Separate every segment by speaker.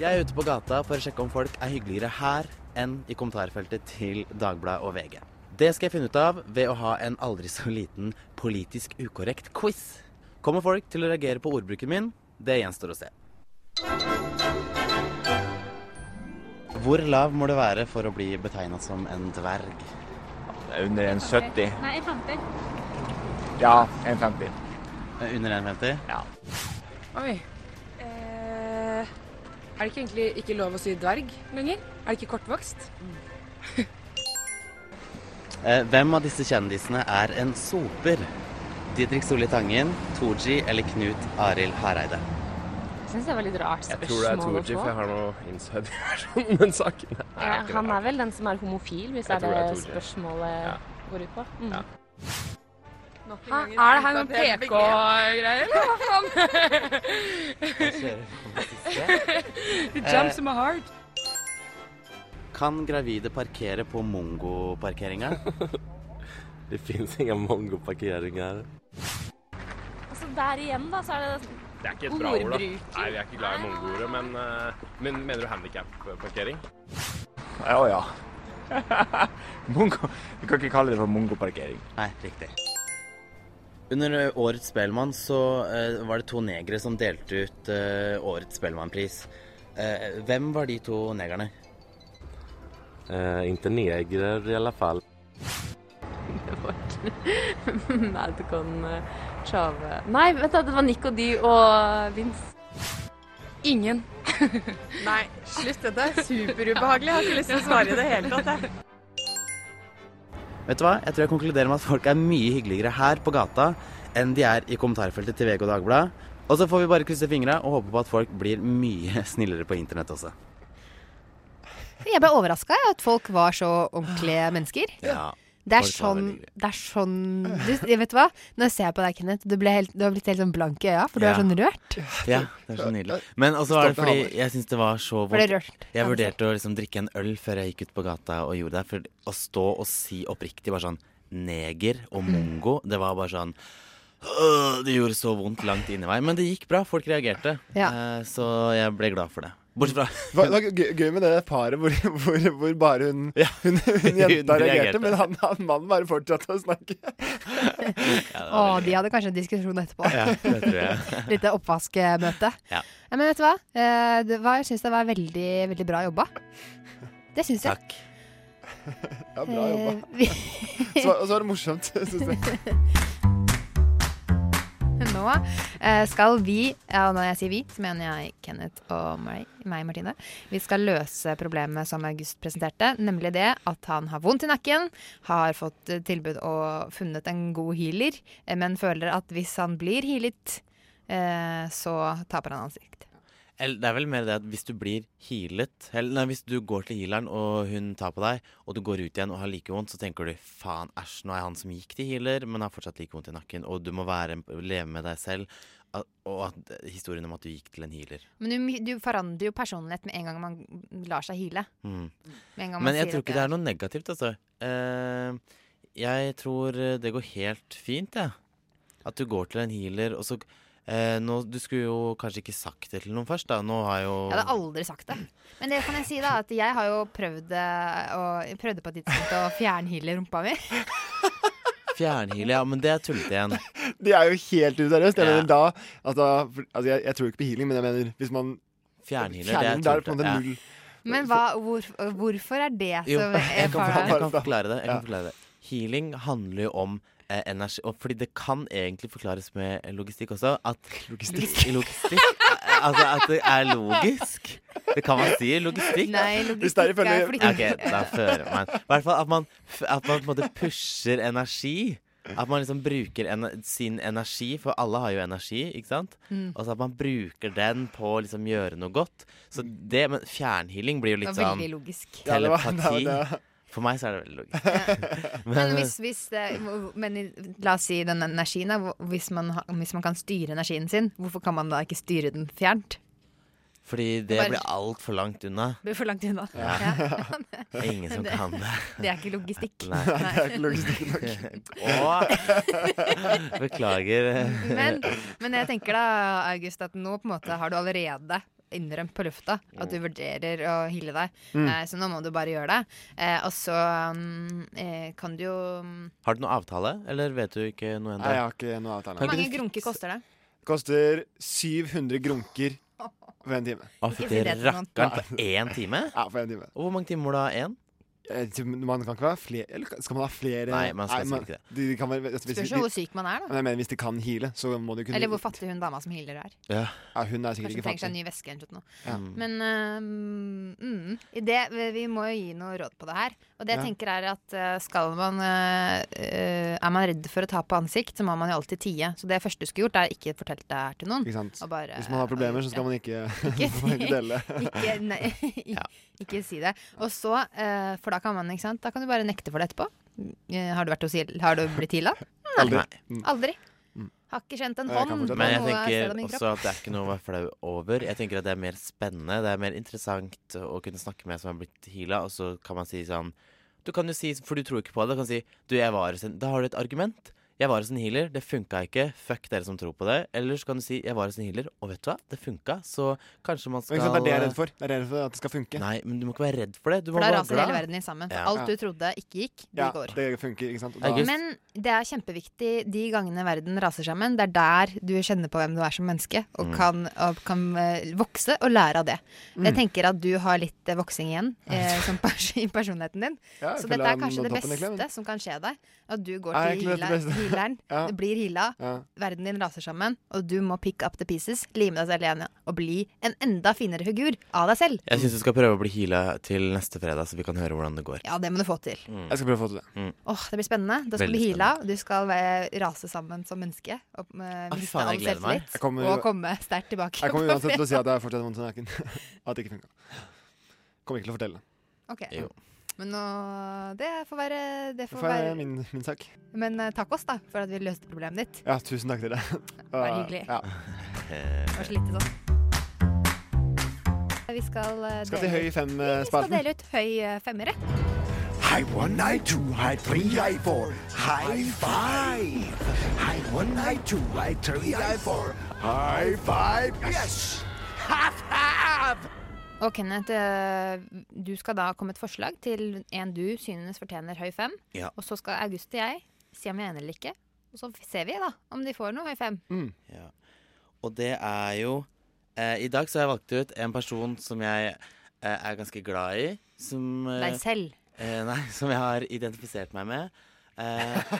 Speaker 1: Jeg er ute på gata for å sjekke om folk er hyggeligere her enn i kommentarfeltet til Dagbladet og VG. Det skal jeg finne ut av ved å ha en aldri så liten politisk ukorrekt quiz. Kommer folk til å reagere på ordbruken min? Det gjenstår å se. Hvor lav må du være for å bli betegna som en dverg?
Speaker 2: Under en 70.
Speaker 3: Nei, 50.
Speaker 2: Ja, 1,50.
Speaker 1: Eh, Under 1,50?
Speaker 2: Ja.
Speaker 4: Oi. Eh, er det ikke egentlig ikke lov å si dverg lenger? Er det ikke kortvokst?
Speaker 1: Eh, Hvem av disse kjendisene er en soper? Didrik Solli Tangen, Tooji eller Knut Arild Hareide?
Speaker 3: Jeg syns det var litt rart
Speaker 5: Jeg tror det er
Speaker 3: spørsmål å
Speaker 5: Tooji, for
Speaker 3: få.
Speaker 5: jeg har noe inside-informasjon om den saken. Nei, jeg
Speaker 3: Ja,
Speaker 5: har ikke
Speaker 3: han
Speaker 5: det.
Speaker 3: er vel den som er homofil, hvis
Speaker 5: Jeg
Speaker 3: det er
Speaker 5: tror det
Speaker 3: det
Speaker 5: er Tooji.
Speaker 3: spørsmålet
Speaker 5: Ja.
Speaker 3: går ut på. Mm.
Speaker 5: Ja.
Speaker 4: Hæ? Er det her noen PK-greier, eller hva faen? It jumps in my heart.
Speaker 1: Kan gravide parkere på mongoparkeringa?
Speaker 5: Det fins ingen mongoparkering her.
Speaker 3: Altså, der igjen, da, så er det
Speaker 5: Det er ikke et bra ord, da.
Speaker 3: Ordbruker.
Speaker 5: Nei, vi er ikke glad i mongoordet, men, eh, men mener du handikapparkering?
Speaker 2: Ja, ja. Mongo. Du kan ikke kalle det for mongoparkering.
Speaker 1: Nei, riktig. Under eh, årets Spellemann så eh, var det to negere som delte ut eh, årets Spellemannpris. Eh, hvem var de to negerne?
Speaker 5: Eh, ikke negrer, i alle fall.
Speaker 3: Madcon eh, Chave Nei, vet du, det var Nico Dy og Vince.
Speaker 4: Ingen.
Speaker 6: Nei, slutt. Dette er superubehagelig. Jeg har ikke lyst til å svare i det hele tatt. Jeg.
Speaker 1: Vet du hva? Jeg tror jeg konkluderer med at folk er mye hyggeligere her på gata enn de er i kommentarfeltet til VG og Dagbladet. Og så får vi bare krysse fingra og håpe på at folk blir mye snillere på internett også.
Speaker 7: Jeg ble overraska at folk var så ordentlige mennesker.
Speaker 1: Ja.
Speaker 7: Det er
Speaker 1: Folk var
Speaker 7: sånn,
Speaker 1: veldig hyggelige.
Speaker 7: det er sånn du, Vet du hva? Nå ser jeg på deg, Kenneth. Du, ble helt, du har blitt helt sånn blank i øya, for du
Speaker 1: Ja.
Speaker 7: er sånn rørt.
Speaker 1: Ja, det er så nydelig. Men også var det fordi jeg syns det var så
Speaker 7: Ble
Speaker 1: vondt.
Speaker 7: rørt.
Speaker 1: Jeg vurderte å liksom drikke en øl før jeg gikk ut på gata og gjorde det. For å stå og si oppriktig bare sånn neger og
Speaker 8: Hmm.
Speaker 1: mongo, det var bare sånn «Åh, Det gjorde så vondt langt inni meg. Men det gikk bra. Folk reagerte.
Speaker 7: Ja.
Speaker 1: Eh, Så jeg ble glad for det. Bortsett fra
Speaker 8: Det var, det var gøy- gøy med det paret hvor, hvor, hvor bare hun,
Speaker 1: Ja.
Speaker 8: hun, hun jenta
Speaker 1: reagerte.
Speaker 8: reagerte, men han, han mannen bare fortsatte å snakke.
Speaker 7: Å, de hadde kanskje en diskusjon etterpå.
Speaker 1: Ja, det tror jeg.
Speaker 7: Litt oppvaskmøte.
Speaker 1: Ja.
Speaker 7: Ja, Men vet du hva? Eh, Det var, jeg syns det var veldig, veldig bra jobba. Det syns jeg.
Speaker 1: Takk.
Speaker 8: Ja, bra jobba.
Speaker 7: Eh, vi-
Speaker 8: Så, og så var det morsomt, syns jeg.
Speaker 7: Nå eh, skal vi, ja, og når jeg sier vi, så mener jeg Kenneth og meg, meg Martine, vi skal løse problemet som August presenterte, nemlig det at han har vondt i nakken, har fått eh, tilbud og funnet en god healer, eh, men føler at hvis han blir healet, eh, så taper han ansikt.
Speaker 1: Eller det er vel mer det at hvis du blir healet Eller nei, hvis du går til healeren og hun tar på deg, og du går ut igjen og har like vondt, så tenker du faen, æsj, nå er han som gikk til healer, men har fortsatt like vondt i nakken, og du må være, leve med deg selv. at- Og at, historien om at du gikk til en healer.
Speaker 7: Men du, du forandrer jo personlighet med en gang man lar seg heale.
Speaker 1: Mm.
Speaker 7: Med en gang man
Speaker 1: Men jeg
Speaker 7: sier
Speaker 1: tror
Speaker 7: at
Speaker 1: ikke det er noe negativt, altså. Eh, jeg tror eh, det går helt fint, jeg. At du går til en healer, og så eh, nå, Du skulle jo kanskje ikke sagt det til noen først, da. Nå har jo
Speaker 7: Jeg hadde aldri sagt det. Men det kan jeg si, da, at jeg har jo prøvd det, og jeg prøvde på et tidspunkt å fjernheale rumpa mi.
Speaker 1: Fjernhealer, ja, men det er tullete igjen.
Speaker 8: Det er jo helt useriøst. Jeg
Speaker 1: Ja.
Speaker 8: mener da Altså, for, altså jeg, jeg tror ikke på healing, men jeg mener hvis man
Speaker 1: Fjernhealer, det
Speaker 8: fjerner
Speaker 1: er
Speaker 8: Da er det på
Speaker 1: tullete.
Speaker 8: en måte
Speaker 1: Ja.
Speaker 8: null.
Speaker 7: Men hva, hvor, hvorfor er det
Speaker 1: Jo,
Speaker 7: som
Speaker 1: jeg kan,
Speaker 7: erfarer-
Speaker 1: forklare, jeg kan
Speaker 8: Ja.
Speaker 1: forklare det. Jeg
Speaker 8: Ja.
Speaker 1: kan forklare det. Healing handler jo om eh, energi og Fordi det kan egentlig forklares med logistikk også. At logistikk, eh, Altså at det er logisk. Det kan man si. Logistikk.
Speaker 7: Nei,
Speaker 8: Hvis det er
Speaker 7: logistikk
Speaker 8: ifølge-
Speaker 7: er
Speaker 1: Ja, Ok,
Speaker 7: flytting.
Speaker 1: da fører man I hvert fall at man, f- at man på en måte pusher energi. At man liksom bruker en, sin energi, for alle har jo energi, ikke sant? Og så at man bruker den på å liksom gjøre noe godt. Så det, men fjernhealing blir jo
Speaker 7: Det
Speaker 1: litt
Speaker 7: var
Speaker 1: sånn
Speaker 7: veldig logisk.
Speaker 8: Ja, det var- det var-
Speaker 1: Telepati.
Speaker 8: det var-
Speaker 1: For meg så er det veldig logisk.
Speaker 7: Men, hvis, hvis det, men i- la oss si den energien, da. hvor- Hvis man, har- hvis man kan styre energien sin, hvorfor kan man da ikke styre den fjernt?
Speaker 1: Fordi det
Speaker 7: Bare-
Speaker 1: blir altfor langt unna.
Speaker 7: Det blir for langt unna. Ja.
Speaker 1: Det er ingen som
Speaker 7: Det-
Speaker 1: kan det.
Speaker 7: Det er ikke logistikk.
Speaker 1: Nei.
Speaker 8: Det er ikke logistikk nok.
Speaker 1: Å! Beklager.
Speaker 7: Men, men jeg tenker da, August, at nå på en måte har du allerede innrømt på lufta at du vurderer å hile deg.
Speaker 8: Mm.
Speaker 7: Eh, så nå må du bare gjøre det. Eh, og så mm, eh, kan du jo Hvor
Speaker 1: Har du noen avtale, eller vet du ikke noe
Speaker 8: Nei, jeg
Speaker 1: ennå?
Speaker 8: har ikke noe avtale.
Speaker 1: Kan ikke
Speaker 7: mange
Speaker 1: du
Speaker 7: grunker koster det?
Speaker 8: Koster 700 grunker for en time.
Speaker 1: Å,
Speaker 7: Ikke
Speaker 1: fytti
Speaker 7: si det til noen.
Speaker 1: rakkeren på én time?
Speaker 8: Ja, for en time.
Speaker 1: Og hvor mange timer må du ha én?
Speaker 8: Eh, til- Man kan ikke ha flere Eller skal man ha flere?
Speaker 1: Nei, man skal sikkert ikke
Speaker 8: det. De, de kan, være- hvis,
Speaker 7: Spørs
Speaker 8: hvis,
Speaker 7: jo hvor
Speaker 8: de,
Speaker 7: syk man er, da.
Speaker 8: men jeg mener, hvis de kan heale, så må de kunne
Speaker 7: Eller hvor fattig hun dama som healer er.
Speaker 8: Ja, hun er sikkert ikke
Speaker 7: Kanskje hun trenger seg en
Speaker 8: fattig.
Speaker 7: ny væske eller noe.
Speaker 8: Ja.
Speaker 1: Mm.
Speaker 7: Men eh, mm, i det, vi, vi må jo gi noe råd på det her. Og det jeg
Speaker 8: Ja.
Speaker 7: tenker er at eh, skal man eh, eh, Er man redd for å tape ansikt, så må man jo alltid tie. Så det første du skulle gjort, er ikke fortalt det her til noen.
Speaker 8: Ikke sant?
Speaker 7: Og bare,
Speaker 8: Hvis man har problemer, så skal man ikke,
Speaker 7: Ikke
Speaker 8: må man ikke
Speaker 7: si-
Speaker 8: dele.
Speaker 7: ikke, nei, ikke, ikke si det. Og så, eh, for da kan man ikke sant? Da kan du bare nekte for det etterpå. Eh, Har du, vært hos, Hil- har du blitt heala?
Speaker 8: Aldri.
Speaker 1: Nei.
Speaker 7: Aldri. Har ikke kjent en
Speaker 8: Og Mm. jeg kan
Speaker 7: hånd
Speaker 8: fortsatt-
Speaker 7: på
Speaker 1: Men jeg
Speaker 7: noe sted av
Speaker 1: tenker
Speaker 7: min kropp.
Speaker 1: også at det er ikke noe å være flau over. Jeg tenker at det er mer spennende, det er mer interessant å kunne snakke med en som har blitt heala, og så kan man si sånn Du kan jo si, for du tror ikke på det, du kan si Du, jeg var hos en Da har du et argument. Jeg var hos en healer, det funka ikke. Fuck dere som tror på det. Eller så kan du si jeg var hos en healer, og vet du hva, det funka, så kanskje man
Speaker 8: Men
Speaker 1: skal
Speaker 8: ikke sant, det er det jeg er redd for. Det er det jeg er redd for At det skal funke.
Speaker 1: Nei, men du må ikke være redd for det. Du må
Speaker 7: For da
Speaker 1: være
Speaker 7: raser hele
Speaker 1: glad.
Speaker 7: verden din sammen. For
Speaker 1: Ja.
Speaker 7: alt du trodde ikke gikk, det
Speaker 8: Ja,
Speaker 7: går.
Speaker 8: det funker, ikke sant. Og
Speaker 1: August.
Speaker 7: Men det er kjempeviktig de gangene verden raser sammen. Det er der du kjenner på hvem du er som menneske, og
Speaker 1: Mm.
Speaker 7: kan, og kan eh, vokse og lære av det.
Speaker 8: Mm.
Speaker 7: Jeg tenker at du har litt eh, voksing igjen eh, som pers i personligheten din.
Speaker 8: Ja, jeg
Speaker 7: Så
Speaker 8: føler
Speaker 7: dette
Speaker 8: jeg
Speaker 7: er kanskje
Speaker 8: nådde
Speaker 7: det
Speaker 8: toppen, egentlig, men-
Speaker 7: beste som kan skje deg. At du går
Speaker 8: Ja,
Speaker 7: til
Speaker 8: egentlig det
Speaker 7: healer-
Speaker 8: beste.
Speaker 7: healeren,
Speaker 8: Ja.
Speaker 7: du blir heala,
Speaker 8: Ja.
Speaker 7: verden din raser sammen, og du må pick up the pieces, lime deg selv igjen og bli en enda finere figur av deg selv.
Speaker 1: Jeg syns du skal prøve å bli heala til neste fredag, så vi kan høre hvordan det går.
Speaker 7: Ja, det må du få til.
Speaker 8: Jeg skal prøve å få til det.
Speaker 7: Åh, Det blir spennende. Da skal
Speaker 1: Veldig
Speaker 7: du heale av. Du skal være, rase sammen som menneske. Og eh,
Speaker 1: Ah, fy
Speaker 7: miste
Speaker 1: faen,
Speaker 7: all
Speaker 1: jeg gleder meg.
Speaker 7: selvtillit.
Speaker 8: Jeg kommer-
Speaker 7: Og komme sterkt tilbake.
Speaker 8: Jeg kommer
Speaker 7: på
Speaker 8: uansett til å
Speaker 7: fredag.
Speaker 8: si at jeg fortsatt har vondt i nakken. At det ikke funka. Kommer ikke til å fortelle det.
Speaker 7: Ok.
Speaker 1: Jo.
Speaker 7: Men nå, det får være, det
Speaker 8: Det
Speaker 7: får
Speaker 8: får være
Speaker 7: være.
Speaker 8: min, min sak.
Speaker 7: Men eh, takk oss, da, for at vi løste problemet ditt.
Speaker 8: Ja, tusen takk til deg.
Speaker 7: Bare hyggelig.
Speaker 8: Ja.
Speaker 7: Det var så lite sånn. Vi skal, eh,
Speaker 8: Skal til
Speaker 7: dele
Speaker 8: Høy
Speaker 7: ut- vi skal
Speaker 8: fem-spalten.
Speaker 7: dele ut høy eh, femmere.
Speaker 9: Hei one, hei to, hei tre, hei four. High five! Hei one, hei to, hei tre, hei four. High five! Yes! Half, half!
Speaker 7: Og Kenneth, eh, du skal da komme et forslag til en du synes fortjener høy fem.
Speaker 1: Ja.
Speaker 7: Og så skal August og jeg si om vi er enige eller ikke. Og så ser vi da om de får noe høy fem.
Speaker 1: Og det er jo eh, I dag så har jeg valgt ut en person som jeg eh, er ganske glad i. Som, eh,
Speaker 7: Deg selv.
Speaker 1: eh, nei, som jeg har identifisert meg med. Eh,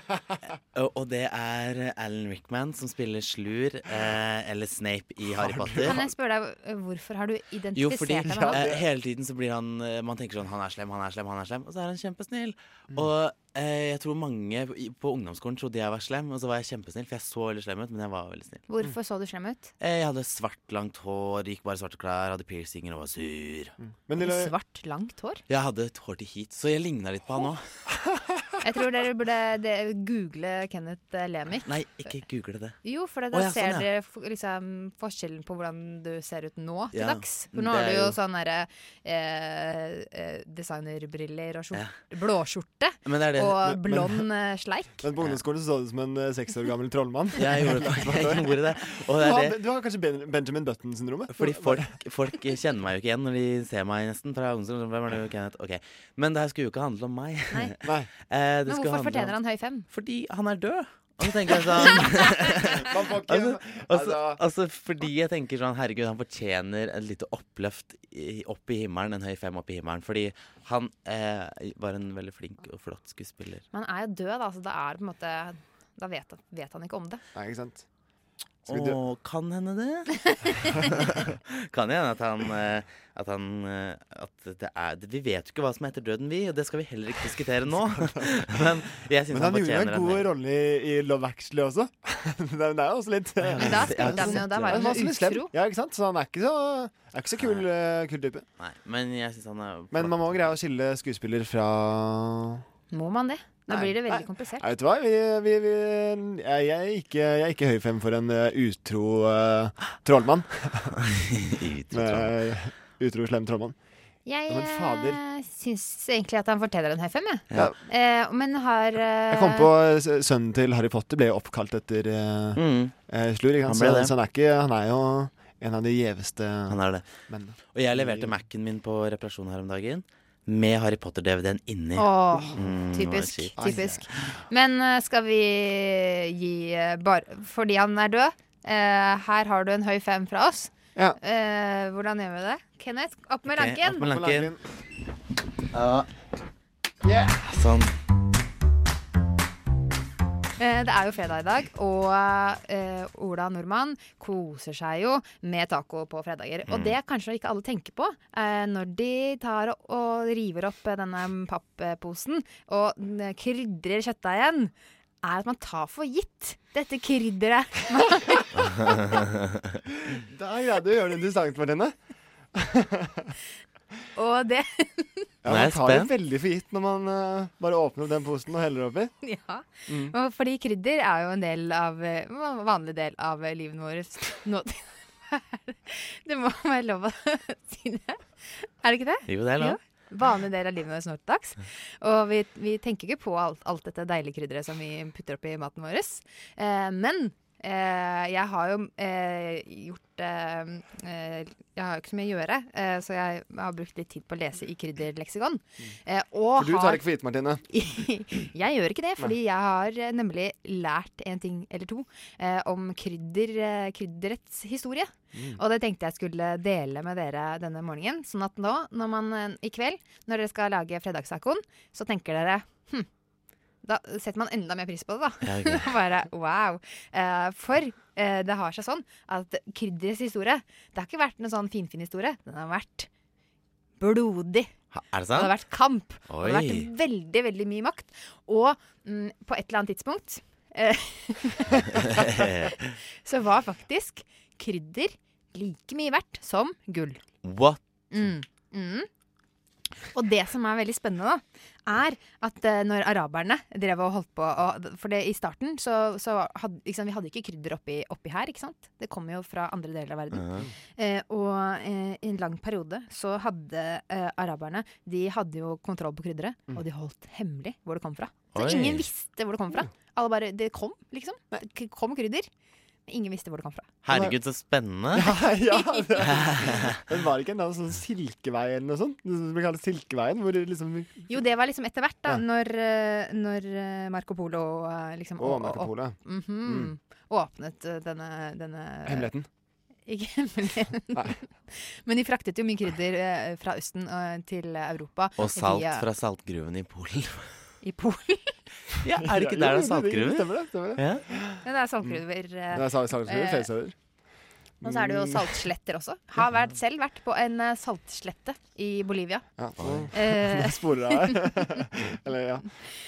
Speaker 1: og, og det er Alan Rickman som spiller Slur, eh, eller Snape, i Harry Potter.
Speaker 7: Kan jeg spørre deg, eh, hvorfor har du identifisert
Speaker 1: Jo, fordi
Speaker 7: deg med han?
Speaker 1: eh, hele tiden så blir han eh, Man tenker sånn Han er slem, han er slem, han er slem. Og så er han kjempesnill. Og eh, jeg tror mange i- på ungdomsskolen trodde jeg var slem, og så var jeg kjempesnill, for jeg så veldig slem ut, men jeg var veldig snill.
Speaker 7: Hvorfor så du slem ut?
Speaker 1: Eh, Jeg hadde svart, langt hår, gikk bare i svarte klær, hadde piercinger og var sur.
Speaker 8: Men Lille,
Speaker 7: Svart, langt hår?
Speaker 1: Jeg hadde et hår til hit, så jeg ligna litt på han òg.
Speaker 7: Jeg tror dere burde de, google Kenneth eh, Lemik.
Speaker 1: Nei, ikke google det.
Speaker 7: Jo, for da
Speaker 1: Å, ja, sånn,
Speaker 7: ser
Speaker 1: ja.
Speaker 7: dere f- liksom, forskjellen på hvordan du ser ut nå til
Speaker 1: Ja,
Speaker 7: dags. For
Speaker 1: men
Speaker 7: nå
Speaker 1: det
Speaker 7: har du
Speaker 1: er
Speaker 7: jo
Speaker 1: jo-
Speaker 7: sånn derre eh, eh, designerbriller og skjort,
Speaker 1: Ja.
Speaker 7: blåskjorte
Speaker 1: Men det er det
Speaker 7: og
Speaker 8: men-
Speaker 7: blond eh, sleik.
Speaker 8: men på ungdomsskolen så så du ut som en eh, seks år gammel trollmann.
Speaker 1: Jeg gjorde det. Jeg gjorde det. Og
Speaker 8: Du
Speaker 1: det
Speaker 8: har,
Speaker 1: er det.
Speaker 8: du har kanskje Ben- Benjamin Button-syndromet?
Speaker 1: Fordi folk, folk kjenner meg jo ikke igjen når de ser meg nesten fra ungdomsskolen. Hvem er du, Kenneth? Ok. Men det her skulle jo ikke handle om meg.
Speaker 7: Nei.
Speaker 8: Nei.
Speaker 1: Eh, det skulle
Speaker 7: Men
Speaker 1: handle
Speaker 7: hvorfor
Speaker 1: om-
Speaker 7: fortjener han høy fem?
Speaker 1: Fordi han er død. Og så tenker jeg sånn
Speaker 8: Man får ikke
Speaker 1: altså, altså,
Speaker 8: altså-
Speaker 1: altså fordi jeg tenker sånn Herregud, han fortjener et lite oppløft i, opp i himmelen. En høy fem opp i himmelen. Fordi han eh, var en veldig flink og flott skuespiller.
Speaker 7: Men han er jo død, da, så da er det på en måte da vet, vet han ikke om det.
Speaker 8: Nei, ikke sant.
Speaker 1: Å,
Speaker 8: Skal vi dø?
Speaker 1: kan hende det? kan hende at han eh, At han eh, At det er Vi vet jo ikke hva som er etter døden, vi, og det skal vi heller ikke diskutere nå. Men jeg syns han,
Speaker 8: Men han gjorde jo
Speaker 1: fortjener
Speaker 8: en
Speaker 1: en
Speaker 8: god
Speaker 1: høy
Speaker 8: rolle i, i Love Actually også. det er det er jo også litt eh,
Speaker 7: Men da spilte han
Speaker 1: sånn-
Speaker 7: jo, da var
Speaker 8: Han
Speaker 7: han
Speaker 8: var
Speaker 7: jo
Speaker 8: som en slem.
Speaker 7: utro.
Speaker 8: Ja, ikke sant? Så han er ikke så, er ikke så kul, eh, kul type.
Speaker 1: Nei, men jeg syns han er
Speaker 8: Men man må greie å skille skuespiller fra
Speaker 7: Må man det? Da
Speaker 8: Nei.
Speaker 7: blir det
Speaker 8: Nei.
Speaker 7: veldig komplisert.
Speaker 8: Nei, vet du hva? Vi, vi, vi, jeg, jeg, er ikke, jeg er ikke høy fem for en eh, utro eh, trollmann. Med, utro slem trollmann.
Speaker 7: Jeg
Speaker 8: Ja, men fader.
Speaker 7: eh, syns egentlig at han fortjener en høy fem, jeg.
Speaker 8: Ja.
Speaker 7: Eh, men har eh,
Speaker 8: Jeg kom på eh, s- Sønnen til Harry Potter ble jo oppkalt etter eh,
Speaker 1: Mm.
Speaker 8: eh, Slur. Ikke?
Speaker 1: Han
Speaker 8: sant?
Speaker 1: ble
Speaker 8: Så,
Speaker 1: det.
Speaker 8: så han er ikke Han er jo En av de gjeveste
Speaker 1: Han er det.
Speaker 8: mennene.
Speaker 1: Og jeg leverte Mac-en min på reparasjon her om dagen med Harry Potter-DVD-en inni.
Speaker 7: eh, Åh,
Speaker 1: Mm,
Speaker 7: typisk.
Speaker 1: det var kjipt.
Speaker 7: typisk. Men eh, skal vi gi eh, bare Fordi han er død, eh, her har du en høy fem fra oss.
Speaker 8: Ja.
Speaker 7: Eh, hvordan gjør vi det? Kenneth, opp med
Speaker 1: Ok, opp
Speaker 7: ranken!
Speaker 1: med lanken.
Speaker 8: Yeah.
Speaker 1: Sånn.
Speaker 7: Eh, Det er jo fredag i dag, og eh, Ola Nordmann koser seg jo med taco på fredager. Og det kanskje ikke alle tenker på eh, når de tar og, og river opp eh, denne pappposen og eh, krydrer kjøttdeigen, er at man tar for gitt dette krydderet.
Speaker 8: Da greide du å gjøre det interessant for henne.
Speaker 7: Og det
Speaker 8: Ja,
Speaker 1: Nå er
Speaker 8: man
Speaker 1: jeg
Speaker 8: tar det
Speaker 1: spent.
Speaker 8: veldig for gitt når man eh, bare åpner opp den posen og heller oppi.
Speaker 7: Ja. Og fordi krydder er jo en del av, eh, en vanlig del av eh, livet vårt nå Det må være lov å si det. Er det ikke det?
Speaker 1: Jo, det er lov.
Speaker 7: Vanlig del av livet vårt nå til dags. Og vi, vi tenker ikke på alt, alt dette deilige krydderet som vi putter oppi maten vår. Eh, men eh, jeg har jo eh, gjort eh, eh, Jeg har jo ikke så mye å gjøre, eh, så jeg har brukt litt tid på å lese i krydderleksikon. Eh, og
Speaker 8: Mm. For du
Speaker 7: har-
Speaker 8: tar det ikke for gitt, Martine.
Speaker 7: jeg gjør ikke det, fordi jeg har eh, nemlig lært en ting eller to eh, om krydder, eh, krydderets historie. Og det tenkte jeg skulle dele med dere denne morgenen. Sånn at nå, når man, eh, i kveld, når dere skal lage fredagstacoen, så tenker dere hm, da setter man enda mer pris på det, da.
Speaker 1: Ja, ok.
Speaker 7: Bare wow. Eh, for eh, det har seg sånn at krydderets historie, det har ikke vært noen sånn finfin historie. Den har vært blodig.
Speaker 1: Ha- Er det
Speaker 7: Det har
Speaker 1: sant?
Speaker 7: vært kamp. Og det har
Speaker 1: Oi.
Speaker 7: vært veldig, veldig mye makt. Og mm, på et eller annet tidspunkt eh, så var faktisk krydder like mye verdt som gull.
Speaker 1: What?
Speaker 7: Mm. Mm. Og det som er veldig spennende, da, er at eh, når araberne drev og holdt på og, For det, i starten så, så hadde liksom, vi hadde ikke krydder oppi, oppi her, ikke sant? Det kom jo fra andre deler av verden.
Speaker 1: Mhm.
Speaker 7: Eh, og eh, i en lang periode så hadde eh, araberne De hadde jo kontroll på krydderet,
Speaker 8: Mm.
Speaker 7: og de holdt hemmelig hvor det kom fra. Så
Speaker 1: Oi.
Speaker 7: ingen visste hvor det kom fra.
Speaker 8: Mm.
Speaker 7: Alle bare, Det kom, liksom. Det k- kom krydder. Men ingen visste hvor det kom fra.
Speaker 1: Herregud, så spennende.
Speaker 8: ja, det, men var det ikke en annen sånn silkevei eller noe sånt? Det som blir kalt Silkeveien? Hvor det liksom
Speaker 7: Jo, det var liksom etter hvert, da,
Speaker 8: Ja.
Speaker 7: når, eh, når eh, Marco Polo eh, liksom
Speaker 8: Å,
Speaker 7: å-
Speaker 8: Marco
Speaker 7: å-
Speaker 8: Polo.
Speaker 7: mhm,
Speaker 8: Mm.
Speaker 7: åpnet eh, denne, denne
Speaker 8: Hemmeligheten.
Speaker 7: Ikke hemmeligheten. Men de fraktet jo mye krydder eh, fra Østen eh, til Europa.
Speaker 1: Og salt
Speaker 7: via-
Speaker 1: fra saltgruven i Polen.
Speaker 7: I Polen.
Speaker 1: Ja, er det ikke der
Speaker 8: Ja,
Speaker 1: det er
Speaker 8: jo, det-
Speaker 1: saltgruver?
Speaker 8: Stemmer det. stemmer det.
Speaker 1: Ja.
Speaker 7: Ja, det er
Speaker 8: Mm.
Speaker 7: saltgruver. eh,
Speaker 8: Det er sal- saltgruver,
Speaker 7: Eh,
Speaker 8: flere steder.
Speaker 7: Og så er det
Speaker 8: Mm,
Speaker 7: jo saltsletter også. Har vært, selv vært på en eh, saltslette i Bolivia.
Speaker 8: Ja, nå-
Speaker 7: Eh,
Speaker 8: nå sporer det her. Eller ja.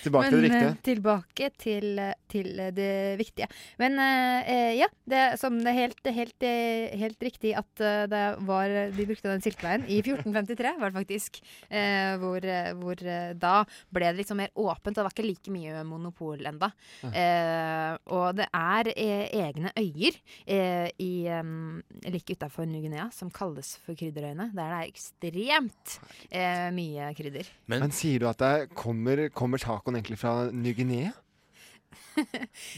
Speaker 8: Tilbake til det
Speaker 7: men, eh,
Speaker 8: riktige.
Speaker 7: tilbake til, eh, til eh, det viktige. Men eh, eh, ja, det er som det er helt, helt, eh, helt riktig at eh, det var De brukte den silkeveien. I 1453 var det faktisk. Eh, hvor eh, hvor eh, da ble det liksom mer åpent, og det var ikke like mye monopol enda. Eh, og det er eh, egne øyer eh, i, eh, like utafor Ny-Guinea som kalles for krydderøyene. Der det er ekstremt eh, mye krydder.
Speaker 8: Men sier du at det er- kommer, kommer tacoen egentlig fra Ny-Guinea?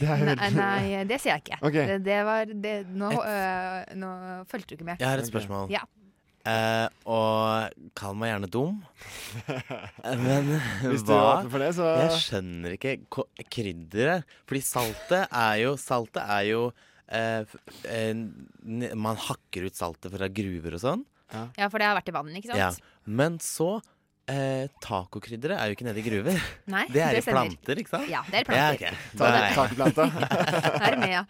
Speaker 8: Det er jo
Speaker 7: Nei,
Speaker 8: veldig
Speaker 7: nei, det sier jeg ikke.
Speaker 8: Ok.
Speaker 7: Det, det var, det, nå,
Speaker 1: Et-
Speaker 7: øh, nå fulgte du ikke med.
Speaker 1: Jeg har et
Speaker 8: Ok.
Speaker 1: spørsmål.
Speaker 7: Ja.
Speaker 1: Eh, og kall meg gjerne dum, men
Speaker 8: Hvis du
Speaker 1: hva
Speaker 8: åpner for det, så
Speaker 1: Jeg skjønner ikke ko- krydderet. Fordi saltet er jo Saltet er jo eh, f- eh, n- Man hakker ut saltet fra gruver og sånn.
Speaker 7: Ja, for det har vært i vannet, ikke sant?
Speaker 1: Ja. Men så eh, Tacokrydderet er jo ikke nede i gruver.
Speaker 7: Nei,
Speaker 1: Det er i
Speaker 7: stemmer.
Speaker 1: planter, ikke sant?
Speaker 7: Ja,
Speaker 1: Ja,
Speaker 7: det er planter.
Speaker 1: ok. Da er
Speaker 8: Ta-
Speaker 1: jeg-
Speaker 8: Tacoplanta.
Speaker 7: Her er med, ja.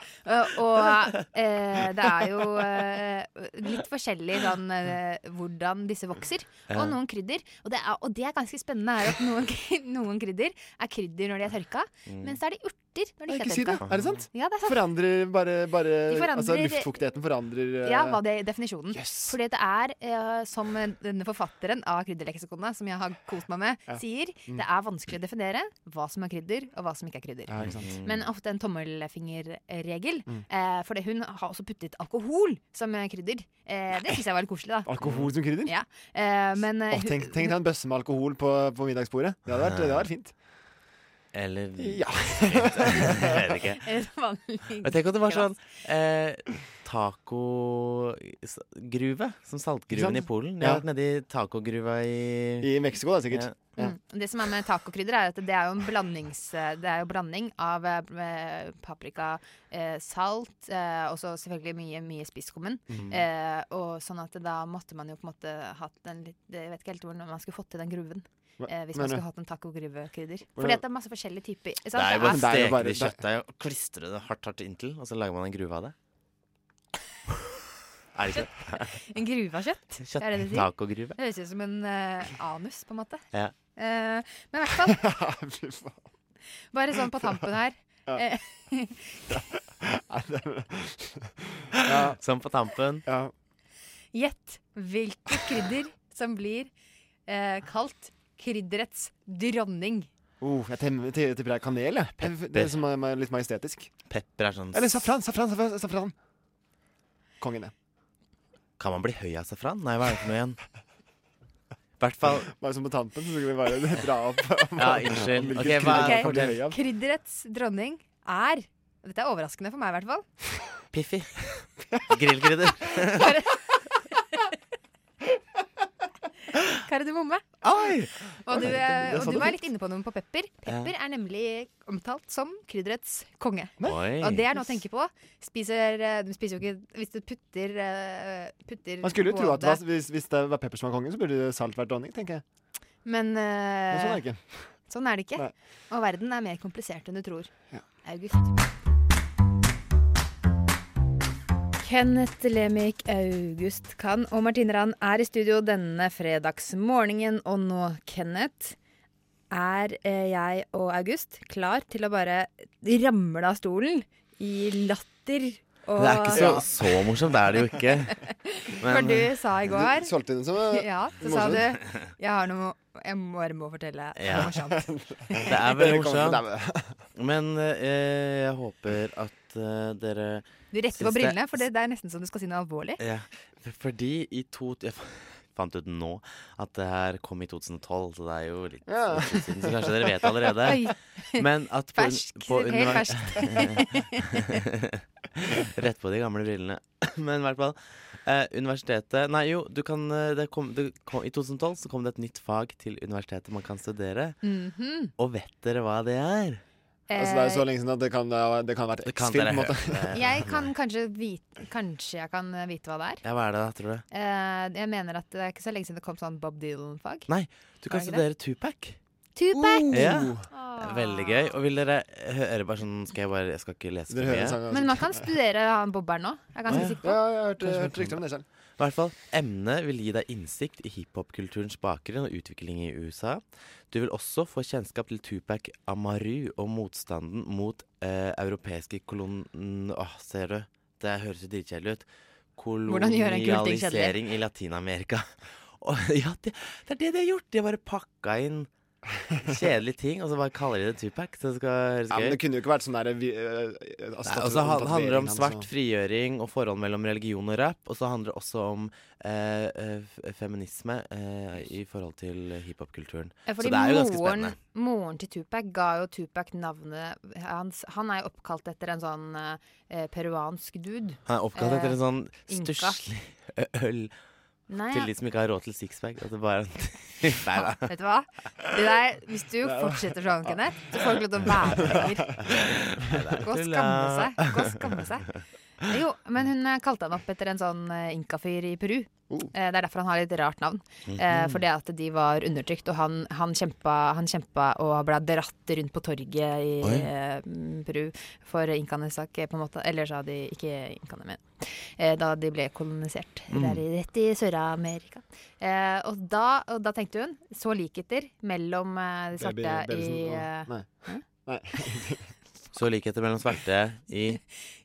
Speaker 7: Og, og eh, det er jo eh, litt forskjellig sånn, eh, hvordan disse vokser. Og
Speaker 1: Ja.
Speaker 7: noen krydder. Og det er, og det er ganske spennende er at noen, kry- noen krydder er krydder når de er tørka, mens så er de urter når de
Speaker 8: Nei,
Speaker 7: ikke
Speaker 8: Ikke
Speaker 7: er
Speaker 8: si det.
Speaker 7: tørka.
Speaker 8: Er det sant?
Speaker 7: Ja, det er sant.
Speaker 8: Forandrer bare, bare
Speaker 7: De forandrer-
Speaker 8: Altså luftfuktigheten forandrer eh,
Speaker 7: Ja, hva det er definisjonen.
Speaker 8: Yes.
Speaker 7: Fordi det er, eh, som denne forfatteren av krydderleksikonet, som jeg har kost meg med, sier,
Speaker 8: Mm.
Speaker 7: det er vanskelig å definere hva som er krydder, og hva som ikke er krydder.
Speaker 8: Ja, Mm. ikke sant.
Speaker 1: sånn.
Speaker 7: Men ofte en tommelfingerregel. Eh, fordi hun har også puttet alkohol som eh, krydder. Eh, det syns jeg var litt koselig, da.
Speaker 8: Alkohol som krydder?
Speaker 7: Ja. Eh, men eh,
Speaker 8: Å, tenk, tenk deg en bøsse med alkohol på, på middagsbordet. Det hadde vært, det hadde vært fint.
Speaker 1: Eller
Speaker 8: Ja.
Speaker 1: Jeg vet ikke.
Speaker 7: hun,
Speaker 1: Men tenk at det var sånn eh, tacogruve. Som
Speaker 8: Ikke sant?
Speaker 1: saltgruven i Polen. Jeg har
Speaker 8: Ja.
Speaker 1: vært nedi tacogruva i
Speaker 8: I Mexico, da, sikkert.
Speaker 1: Ja.
Speaker 8: Ja.
Speaker 7: Mm. Det som er med tacokrydder, er at det er jo en blandings, eh, det er jo blanding av eh, paprika, eh, salt eh, og så selvfølgelig mye, mye spisskummen.
Speaker 8: Mm.
Speaker 7: Eh, og sånn at da måtte man jo på en måte hatt en litt Jeg vet ikke helt hvordan man skulle fått til den gruven.
Speaker 8: Hva-
Speaker 7: Eh,
Speaker 8: mener
Speaker 7: hvis man
Speaker 8: du?
Speaker 7: skulle hatt en tacogruvkrydder.
Speaker 8: Hvordan-
Speaker 7: Fordi at det er masse forskjellige typer. ikke
Speaker 1: Det
Speaker 7: Sant?
Speaker 1: er jo bare å
Speaker 8: Det er jo
Speaker 1: steke
Speaker 8: bare-
Speaker 1: det i
Speaker 8: det er-
Speaker 1: kjøttdeig og klistre det hardt hardt inntil, og så lager man en gruve av det. Er det ikke
Speaker 7: en gruve av kjøtt.
Speaker 1: det?
Speaker 7: er det du sier.
Speaker 1: Tacogruve.
Speaker 7: Det høres ut som en eh, anus, på en måte.
Speaker 1: Ja.
Speaker 7: Eh, men i hvert fall
Speaker 8: Fy faen.
Speaker 7: Bare sånn på tampen her. Eh,
Speaker 8: Nei, det- ja,
Speaker 1: Sånn på tampen.
Speaker 8: ja.
Speaker 7: Gjett hvilket krydder som blir eh, kalt krydderets dronning.
Speaker 8: Oh, jeg tem- ti- tipper det er kanel, jeg. Det- Det som er er litt majestetisk.
Speaker 1: Pepper er sånn
Speaker 8: Eller safran, safran, safran. safran. Kongen, det.
Speaker 1: Kan man bli høy av safran? Nei, hva er det for noe igjen? I hvert fall
Speaker 8: Bare som på tampen, så skulle vi bare dra opp.
Speaker 1: Ja, unnskyld.
Speaker 8: Hvilket
Speaker 1: Ok, hva er
Speaker 8: krydder kan bli
Speaker 1: fortell?
Speaker 8: høy av?
Speaker 7: Krydderets dronning er Dette er overraskende for meg, i hvert fall.
Speaker 1: Piffi. Grillkrydder.
Speaker 7: Kardemomme.
Speaker 8: Ai!
Speaker 7: Og du,
Speaker 8: det-
Speaker 7: eh,
Speaker 8: det
Speaker 7: og
Speaker 8: sa
Speaker 7: du
Speaker 8: du
Speaker 7: var
Speaker 8: fint.
Speaker 7: litt inne på noe på pepper. Pepper er nemlig omtalt som krydderets konge.
Speaker 1: Oi.
Speaker 7: Og det er noe å tenke på. Spiser, eh, du spiser jo ikke Hvis du putter, eh, putter
Speaker 8: Man skulle jo tro at det
Speaker 7: både-
Speaker 8: var, hvis, hvis det var pepper som var kongen, så burde salt vært dronning, tenker jeg.
Speaker 7: Men
Speaker 8: Men
Speaker 7: eh,
Speaker 8: sånn er det ikke.
Speaker 7: Sånn er det ikke.
Speaker 8: Nei.
Speaker 7: Og verden er mer komplisert enn du tror.
Speaker 8: Ja.
Speaker 7: August. Kenneth Lemik August Kann og Martine Rand er i studio denne fredagsmorgenen. Og nå, Kenneth, er eh, jeg og August klar til å bare ramle av stolen i latter. Og,
Speaker 1: Det er ikke så, så morsomt, det er det jo ikke.
Speaker 7: For
Speaker 1: Men
Speaker 7: du sa i går
Speaker 8: Du solgte den som eh,
Speaker 7: Ja, så sa du Jeg har noe Jeg bare må fortelle. Det
Speaker 1: Ja.
Speaker 7: er morsomt.
Speaker 1: det er veldig
Speaker 8: det kommer fra
Speaker 1: morsomt.
Speaker 8: dæven.
Speaker 1: Men eh, jeg håper at eh, dere
Speaker 7: Du retter på
Speaker 1: Syns det-
Speaker 7: brillene, for det, det er nesten som du skal si noe alvorlig.
Speaker 1: Ja, f- fordi i to Jeg f- fant ut nå at det her kom i 2012, så det er jo litt
Speaker 8: Ja.
Speaker 1: litt siden, så kanskje dere vet det allerede.
Speaker 7: Oi,
Speaker 1: Men at på, un-
Speaker 7: Fersk,
Speaker 1: på
Speaker 7: helt
Speaker 1: univer-
Speaker 7: ferskt.
Speaker 1: Rett på de gamle brillene. Men i hvert fall. Eh, universitetet Nei, jo, du kan eh, det kom, det kom, I 2012 så kom det et nytt fag til universitetet man kan studere.
Speaker 7: Mhm.
Speaker 1: Og vet dere hva det er?
Speaker 8: Altså, det er jo så lenge siden at det kan, det kan ha vært
Speaker 1: Det kan
Speaker 8: X-film. på
Speaker 1: dere
Speaker 8: en måte.
Speaker 1: høre.
Speaker 7: Eh, jeg kan kanskje vite Kanskje jeg kan vite hva det er.
Speaker 1: Ja, hva er det da, tror du?
Speaker 7: Eh, jeg mener at det er ikke så lenge siden det kom sånn Bob Dylan-fag.
Speaker 1: Nei, du kan
Speaker 7: Er det
Speaker 1: studere Tupac.
Speaker 7: Tupac!
Speaker 1: Ja. Oh. Veldig gøy. Og vil dere høre bare sånn Skal jeg bare Jeg skal ikke lese for
Speaker 8: Dere hører
Speaker 1: mye.
Speaker 8: en sang
Speaker 7: Men man kan studere han bobberen nå. Jeg er ganske
Speaker 1: Å, ja.
Speaker 7: sikker på
Speaker 8: Ja, jeg har hørt,
Speaker 1: Kanskje
Speaker 8: hørt rykter om det selv.
Speaker 1: I hvert fall, Emnet vil gi deg innsikt i hiphop-kulturens bakgrunn og utvikling i USA. Du vil også få kjennskap til Tupac Amaru og motstanden mot eh, europeiske kolon... Åh, ser du? Det høres jo dritkjedelig ut.
Speaker 7: Hvordan gjøre en kul ting kjedelig?
Speaker 1: Kolonialisering i Latin-Amerika. Og ja, det, det er det de har gjort! De har bare pakka inn kjedelige ting, og så bare kaller de det Tupac. Så det skal høres
Speaker 8: Ja, men
Speaker 1: gøy
Speaker 8: det kunne jo ikke vært sånn der vi- eh, eh, altså,
Speaker 1: Nei, og så han-
Speaker 8: tatovering
Speaker 1: handler det om
Speaker 8: hans altså.
Speaker 1: svart
Speaker 8: og-
Speaker 1: frigjøring og forhold mellom religion og rap. Og så handler det også om eh, eh, f- feminisme eh, i forhold til hiphopkulturen.
Speaker 7: Ja,
Speaker 1: Så
Speaker 7: Fordi
Speaker 1: det er jo ganske
Speaker 7: moren,
Speaker 1: spennende.
Speaker 7: moren til Tupac ga jo Tupac navnet hans. Han er jo oppkalt etter en sånn eh, peruansk dude.
Speaker 1: Han er oppkalt etter en sånn
Speaker 7: Inka.
Speaker 1: stusslig ø- øl
Speaker 7: Nei,
Speaker 1: til de som ikke har råd til sixpack. At det bare Nei da.
Speaker 7: vet du hva? Det der, hvis du fortsetter sånn, Kenneth, så får du ikke lov til å være med lenger. Gå og skamme seg. Gå og skamme seg. Jo, men hun eh, kalte han opp etter en sånn eh, inkafyr i Peru.
Speaker 8: Oh.
Speaker 7: Eh, Det er derfor han har litt rart navn.
Speaker 8: Mhm.
Speaker 7: Eh, Fordi at de var undertrykt, og han, han, kjempa, han kjempa og ble dratt rundt på torget i
Speaker 1: Oi.
Speaker 7: eh, Peru for inkanes sak, eh, på en måte. Eller så hadde de ikke inkaene, men eh, da de ble kolonisert.
Speaker 8: Mm.
Speaker 7: Der, i- rett i Sør-Amerika. Eh, og, da, og da tenkte hun så likheter mellom eh,
Speaker 8: Baby-
Speaker 7: de svarte i,
Speaker 8: babysen og-
Speaker 7: eh,
Speaker 8: Nei.
Speaker 1: Så likheter mellom svarte i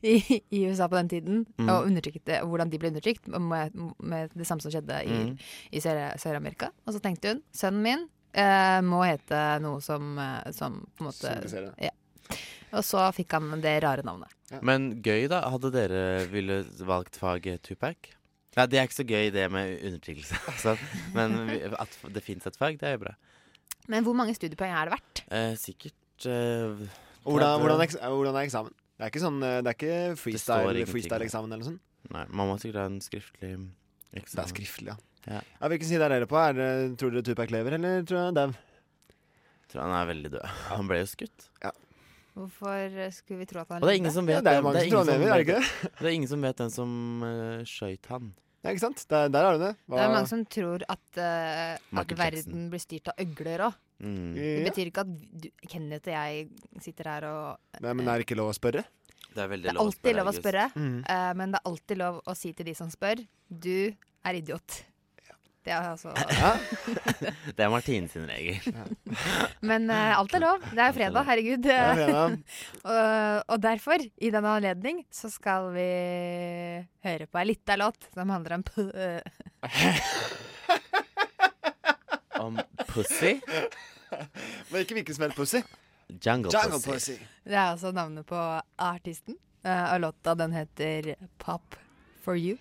Speaker 7: i, i USA på den tiden,
Speaker 8: Mm.
Speaker 7: og undertrykte, og hvordan de ble undertrykt, med, med det samme som skjedde i,
Speaker 8: Mm.
Speaker 1: mm.
Speaker 7: i Sør- Sør-Amerika. og så tenkte hun sønnen min eh, må hete noe som, eh, som på en måte
Speaker 8: Symboliserer.
Speaker 7: ja. Og så fikk han det rare navnet.
Speaker 1: Men gøy, da. Hadde dere ville valgt faget Tupac? Nei, det er ikke så gøy, det med undertrykkelse. altså. Men vi- at det fins et fag, det er jo bra.
Speaker 7: Men hvor mange studiepoeng er det verdt?
Speaker 1: Eh, sikkert eh,
Speaker 8: Og
Speaker 1: Prøv-
Speaker 8: Hvordan, hvordan, eks- eh, hvordan er eksamen? Det er ikke sånn eh, Det er ikke
Speaker 1: står
Speaker 8: freestyle-
Speaker 1: ingenting.
Speaker 8: freestyle-eksamen eller noe sånt?
Speaker 1: Nei, man må sikkert ha en skriftlig
Speaker 8: Det er
Speaker 1: eksamen.
Speaker 8: skriftlig, ja.
Speaker 1: Ja.
Speaker 8: Ja, Hvilken side er dere på? Er det, tror dere Tupac lever, eller tror jeg dau?
Speaker 1: Tror han er veldig død. Han ble jo skutt.
Speaker 7: Hvorfor eh, skulle vi tro at
Speaker 1: Og
Speaker 7: han
Speaker 1: det er ingen som
Speaker 8: Ja,
Speaker 1: vet
Speaker 8: det er jo
Speaker 1: hvem-
Speaker 8: mange som
Speaker 1: ingen
Speaker 8: tror han lever, er det ikke det?
Speaker 1: vet- det er ingen som vet den som uh, skøyt han.
Speaker 8: Ja, ikke sant? Der, der har du det. Hva-
Speaker 7: Det er mange som tror at, eh, at
Speaker 1: Michael Jackson.
Speaker 7: verden blir styrt av øgler òg.
Speaker 1: Mm.
Speaker 7: Det
Speaker 8: Ja.
Speaker 7: betyr ikke at du, Kenneth og jeg sitter her og
Speaker 8: Nei, men er det ikke lov å spørre?
Speaker 1: Det er veldig
Speaker 7: Det er alltid lov å
Speaker 1: August.
Speaker 7: spørre, eh, men det er alltid lov å si til de som spør, du er idiot. Det er altså
Speaker 1: Det er Martine sin regel.
Speaker 7: Men eh, alt er lov. Det er jo fredag, herregud.
Speaker 8: Ja, Lena.
Speaker 7: og, og derfor, i denne anledning, så skal vi høre på ei lita låt som handler om p- eh,
Speaker 1: Om pussy.
Speaker 8: Men ikke hvilken som helst pussy.
Speaker 1: Jungle,
Speaker 8: Jungle
Speaker 1: pussy.
Speaker 8: pussy.
Speaker 7: Det er altså navnet på artisten, eh, og låta den heter Pop for you.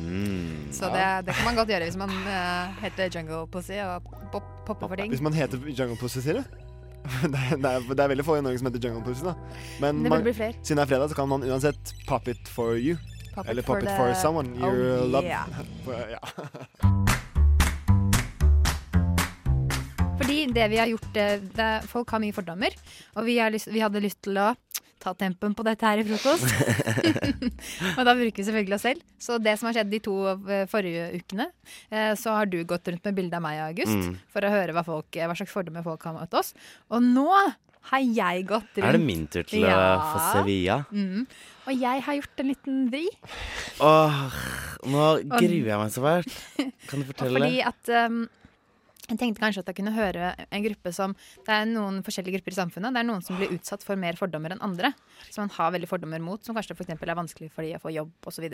Speaker 1: Mm.
Speaker 7: Så det, det kan man godt gjøre hvis man eh, heter Jungle Pussy og pop, popper for ting.
Speaker 8: Hvis man heter jungle pussy, sier du? Det er, det, er, det er veldig få i Norge som heter jungle pussy, da. Men
Speaker 7: Det
Speaker 8: man,
Speaker 7: burde bli flere.
Speaker 8: siden det er fredag, så kan man uansett pop it for you.
Speaker 7: Pop
Speaker 8: Eller pop it
Speaker 7: the-
Speaker 8: for someone you
Speaker 7: Oh,
Speaker 8: love.
Speaker 7: yeah.
Speaker 8: Ja.
Speaker 7: Fordi det vi har gjort eh, det, Folk har mye fordommer, og vi, har lyst, vi hadde lyst til å ta tempen på dette her i frokost. og da bruker vi selvfølgelig oss selv. Så det som har skjedd de to eh, forrige ukene, eh, så har du gått rundt med bilde av meg og August
Speaker 1: Mm.
Speaker 7: for å høre hva, folk, eh, hva slags fordommer folk har mot oss. Og nå har jeg gått rundt.
Speaker 1: Er det min tur til å
Speaker 7: Ja.
Speaker 1: få Sevilla?
Speaker 7: Mm. Og jeg har gjort en liten vri.
Speaker 1: Åh, nå gruer jeg meg så fælt. Kan du fortelle?
Speaker 7: Fordi at um, jeg tenkte kanskje at jeg kunne høre en gruppe som Det er noen forskjellige grupper i samfunnet. Det er noen som blir utsatt for mer fordommer enn andre. Som man har veldig fordommer mot, som kanskje for eksempel er vanskelig for de å få jobb osv.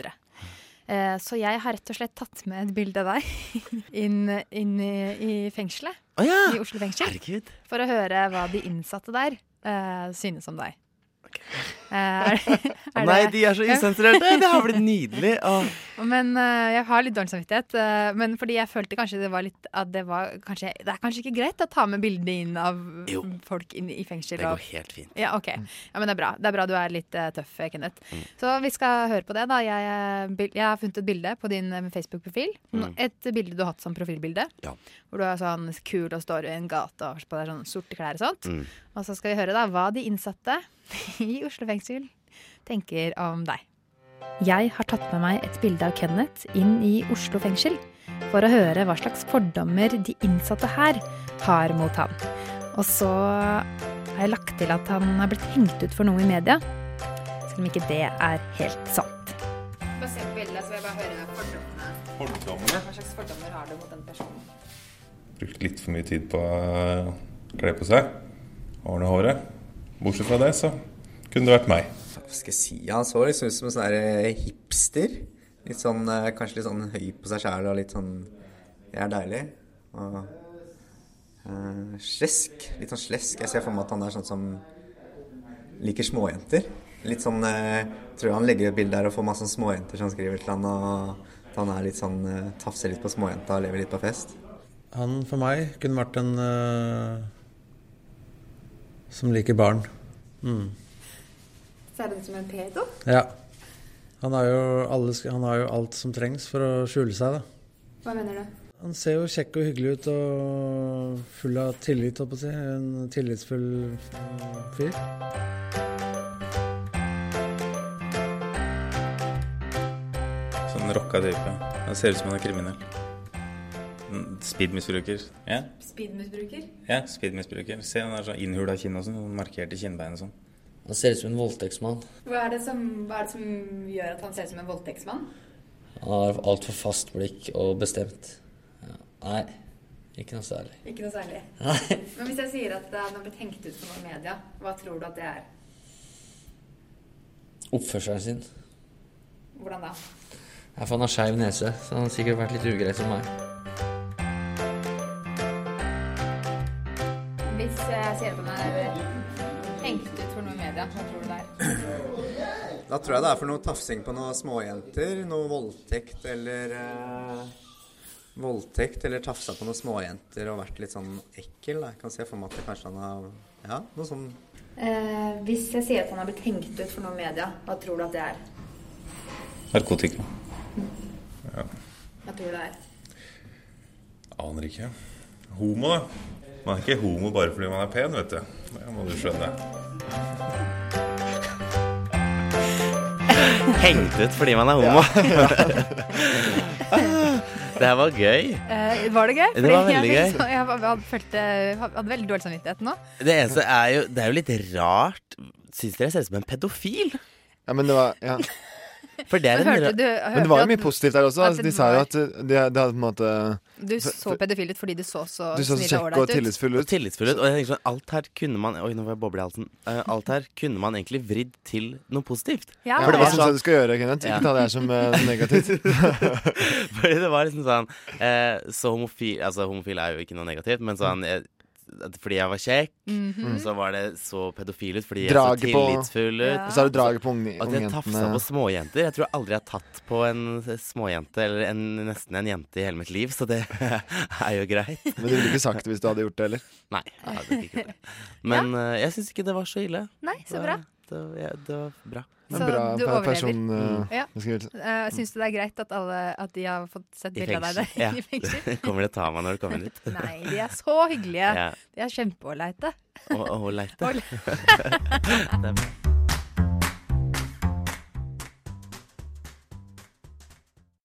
Speaker 7: Eh, så jeg har rett og slett tatt med et bilde av deg inn, inn i, i fengselet.
Speaker 1: Å ja!
Speaker 7: I Oslo fengsel.
Speaker 1: Herregud.
Speaker 7: For å høre hva de innsatte der eh, synes om deg. Eh, er det,
Speaker 1: Å
Speaker 7: er
Speaker 1: nei,
Speaker 7: det-
Speaker 1: de er så usensurerte! Det har blitt nydelig. Åh.
Speaker 7: Men eh, jeg har litt dårlig samvittighet. eh, men fordi jeg følte kanskje det var litt at det var kanskje, Det er kanskje ikke greit å ta med bildene inn av
Speaker 1: Jo.
Speaker 7: folk inn i fengsel.
Speaker 1: Det
Speaker 7: og-
Speaker 1: går helt Mm. fint.
Speaker 7: ja, ok. Ja, men det er bra. Det er bra du er litt eh, tøff, Kenneth.
Speaker 1: Mm.
Speaker 7: Så vi skal høre på det, da. Jeg, eh, bil- jeg har funnet et bilde på din eh, Facebook-profil. Et bilde du har hatt som profilbilde.
Speaker 1: Mm. Ja.
Speaker 7: Hvor du er sånn kul og står i en gate og har på deg sånne sorte klær og sånt.
Speaker 1: Mm.
Speaker 7: Og så skal vi høre da hva de innsatte i Oslo fengsel tenker om deg. Jeg har tatt med meg et bilde av Kenneth inn i Oslo fengsel for å høre hva slags fordommer de innsatte her har mot han. Og så har jeg lagt til at han har blitt hengt ut for noe i media. Selv om ikke det er helt sant. Få se på bildet, så vil jeg bare høre fordommene. Hva slags fordommer har du mot den personen?
Speaker 10: brukt litt for mye tid på å kle på seg. Ordne håret. Bortsett fra det, så kunne det vært meg.
Speaker 11: Hva skal jeg si? Han så liksom ut som en sånn her, eh, hipster. Litt sånn, eh, kanskje litt sånn høy på seg sjæl og litt sånn Jeg er deilig. Og eh, slesk. Litt sånn slesk. Jeg ser for meg at han er sånn som liker småjenter. Litt sånn eh, Tror han legger ut bilde der og får masse sånn småjenter som skriver til han og at han er litt sånn eh, tafser litt på småjenta og lever litt på fest.
Speaker 12: Han for meg kunne vært en eh, som liker barn. Mm.
Speaker 7: Ser du ut som en pedo?
Speaker 12: Ja. Han har, jo alle, sk- han har jo alt som trengs for å skjule seg, da.
Speaker 7: Hva mener du?
Speaker 12: Han ser jo kjekk og hyggelig ut og full av tillit, holdt på å si. En tillitsfull eh, fyr.
Speaker 13: Sånn rocka type. Han ser ut som han er kriminell. Mm, Speedmisbruker. Ja,
Speaker 7: Speedmisbruker?
Speaker 13: ja speedmisbruker. Se, han er sånn innhula kinn og sånn. sånn Markerte kinnbein og sånn.
Speaker 14: Han ser ut som en voldtektsmann.
Speaker 7: Hva er, det som, gjør at han ser ut som en voldtektsmann?
Speaker 14: Han har altfor fast blikk og bestemt. Ja. Nei, ikke noe særlig.
Speaker 7: Ikke noe særlig.
Speaker 14: Nei.
Speaker 7: Men hvis jeg sier at han har blitt hengt ut for noe i media, hva tror du at det er?
Speaker 14: Oppførselen sin.
Speaker 7: Hvordan da?
Speaker 14: Ja, for han har skeiv nese, så han har sikkert vært litt ugrei som meg.
Speaker 7: Hvis jeg sier at han er hengt ut for noe i media, hva tror du det er?
Speaker 11: Da tror jeg det er for noe tafsing på noen småjenter. Noe voldtekt eller eh, Voldtekt eller tafsa på noen småjenter og vært litt sånn ekkel. Da. Jeg kan se for meg at det kanskje han har Ja, noe sånn
Speaker 7: Eh, hvis jeg sier at han har blitt hengt ut for noe i media, hva tror du at det er?
Speaker 13: Narkotika. Ja,
Speaker 7: Hva tror du det er?
Speaker 10: Aner ikke. Homo, da. Man er ikke homo bare fordi man er pen, vet du. Det må du skjønne.
Speaker 1: Hengt ut fordi man er homo.
Speaker 7: Ja.
Speaker 1: Ah, det her var gøy.
Speaker 7: Eh, var det gøy?
Speaker 1: Det var
Speaker 7: Fordi jeg
Speaker 1: veldig
Speaker 7: fikk
Speaker 1: gøy.
Speaker 7: så- Jeg var- hadde, følte, hadde veldig dårlig samvittighet nå.
Speaker 1: Det eneste er jo Det er jo litt rart. Syns dere jeg ser ut som en pedofil?
Speaker 8: Ja, men det var Ja.
Speaker 1: For det er
Speaker 7: Men
Speaker 1: en
Speaker 7: hørte
Speaker 1: ra-
Speaker 7: du- hørte
Speaker 8: Men det var jo
Speaker 7: at-
Speaker 8: mye positivt der også.
Speaker 7: at
Speaker 8: Altså,
Speaker 7: det
Speaker 8: de sa jo
Speaker 7: var-
Speaker 8: at uh, det, det hadde på en måte
Speaker 7: Du så pedofil ut fordi du så så
Speaker 8: Du så så
Speaker 7: snill og
Speaker 8: kjekk
Speaker 7: ålreit
Speaker 8: og
Speaker 7: ut.
Speaker 8: tillitsfull
Speaker 1: Og tillitsfull ut. Og jeg tenker sånn, alt her kunne man Oi, nå får jeg boble i halsen. Eh, alt her kunne man egentlig vridd til noe positivt.
Speaker 7: Ja,
Speaker 8: For det
Speaker 1: var
Speaker 8: var sånn du skal gjøre, Kenneth.
Speaker 1: Ja.
Speaker 8: Ikke ta det her som uh, negativt.
Speaker 1: Fordi det var liksom sånn eh, Så homofil Altså, homofil er jo ikke noe negativt, men
Speaker 7: Mm.
Speaker 1: sånn jeg, at Fordi jeg var kjekk,
Speaker 8: Mhm.
Speaker 1: så var det så pedofil ut fordi jeg
Speaker 8: Draget
Speaker 1: så
Speaker 8: på
Speaker 1: tillitsfull ut.
Speaker 8: Og så er det draget på eh, unge-
Speaker 1: At jeg
Speaker 8: ungjentene.
Speaker 1: tafsa på småjenter. Jeg tror aldri jeg har tatt på en småjente, eller en, nesten en jente i hele mitt liv, så det er jo greit.
Speaker 8: Men du ville ikke sagt det hvis du hadde gjort det heller?
Speaker 1: Nei. jeg hadde ikke gjort det. Men eh, jeg syns ikke det var så ille.
Speaker 7: Nei, så
Speaker 1: Det-
Speaker 7: bra.
Speaker 1: Det, ja, det var bra.
Speaker 8: Det er en bra
Speaker 7: du
Speaker 8: per-
Speaker 7: overlever. Mm.
Speaker 8: person, uh,
Speaker 7: Ja.
Speaker 8: beskrivelse.
Speaker 7: Eh, Syns du det er greit at, alle, at de har fått sett
Speaker 1: I
Speaker 7: bilde av deg
Speaker 1: fengsel. Ja.
Speaker 7: i fengsel?
Speaker 1: Kommer de og tar meg når du kommer dit?
Speaker 7: Nei, de er så hyggelige.
Speaker 1: Ja.
Speaker 7: De er kjempeålreite.
Speaker 1: Og, og leite.
Speaker 7: Og-
Speaker 1: Det er bra.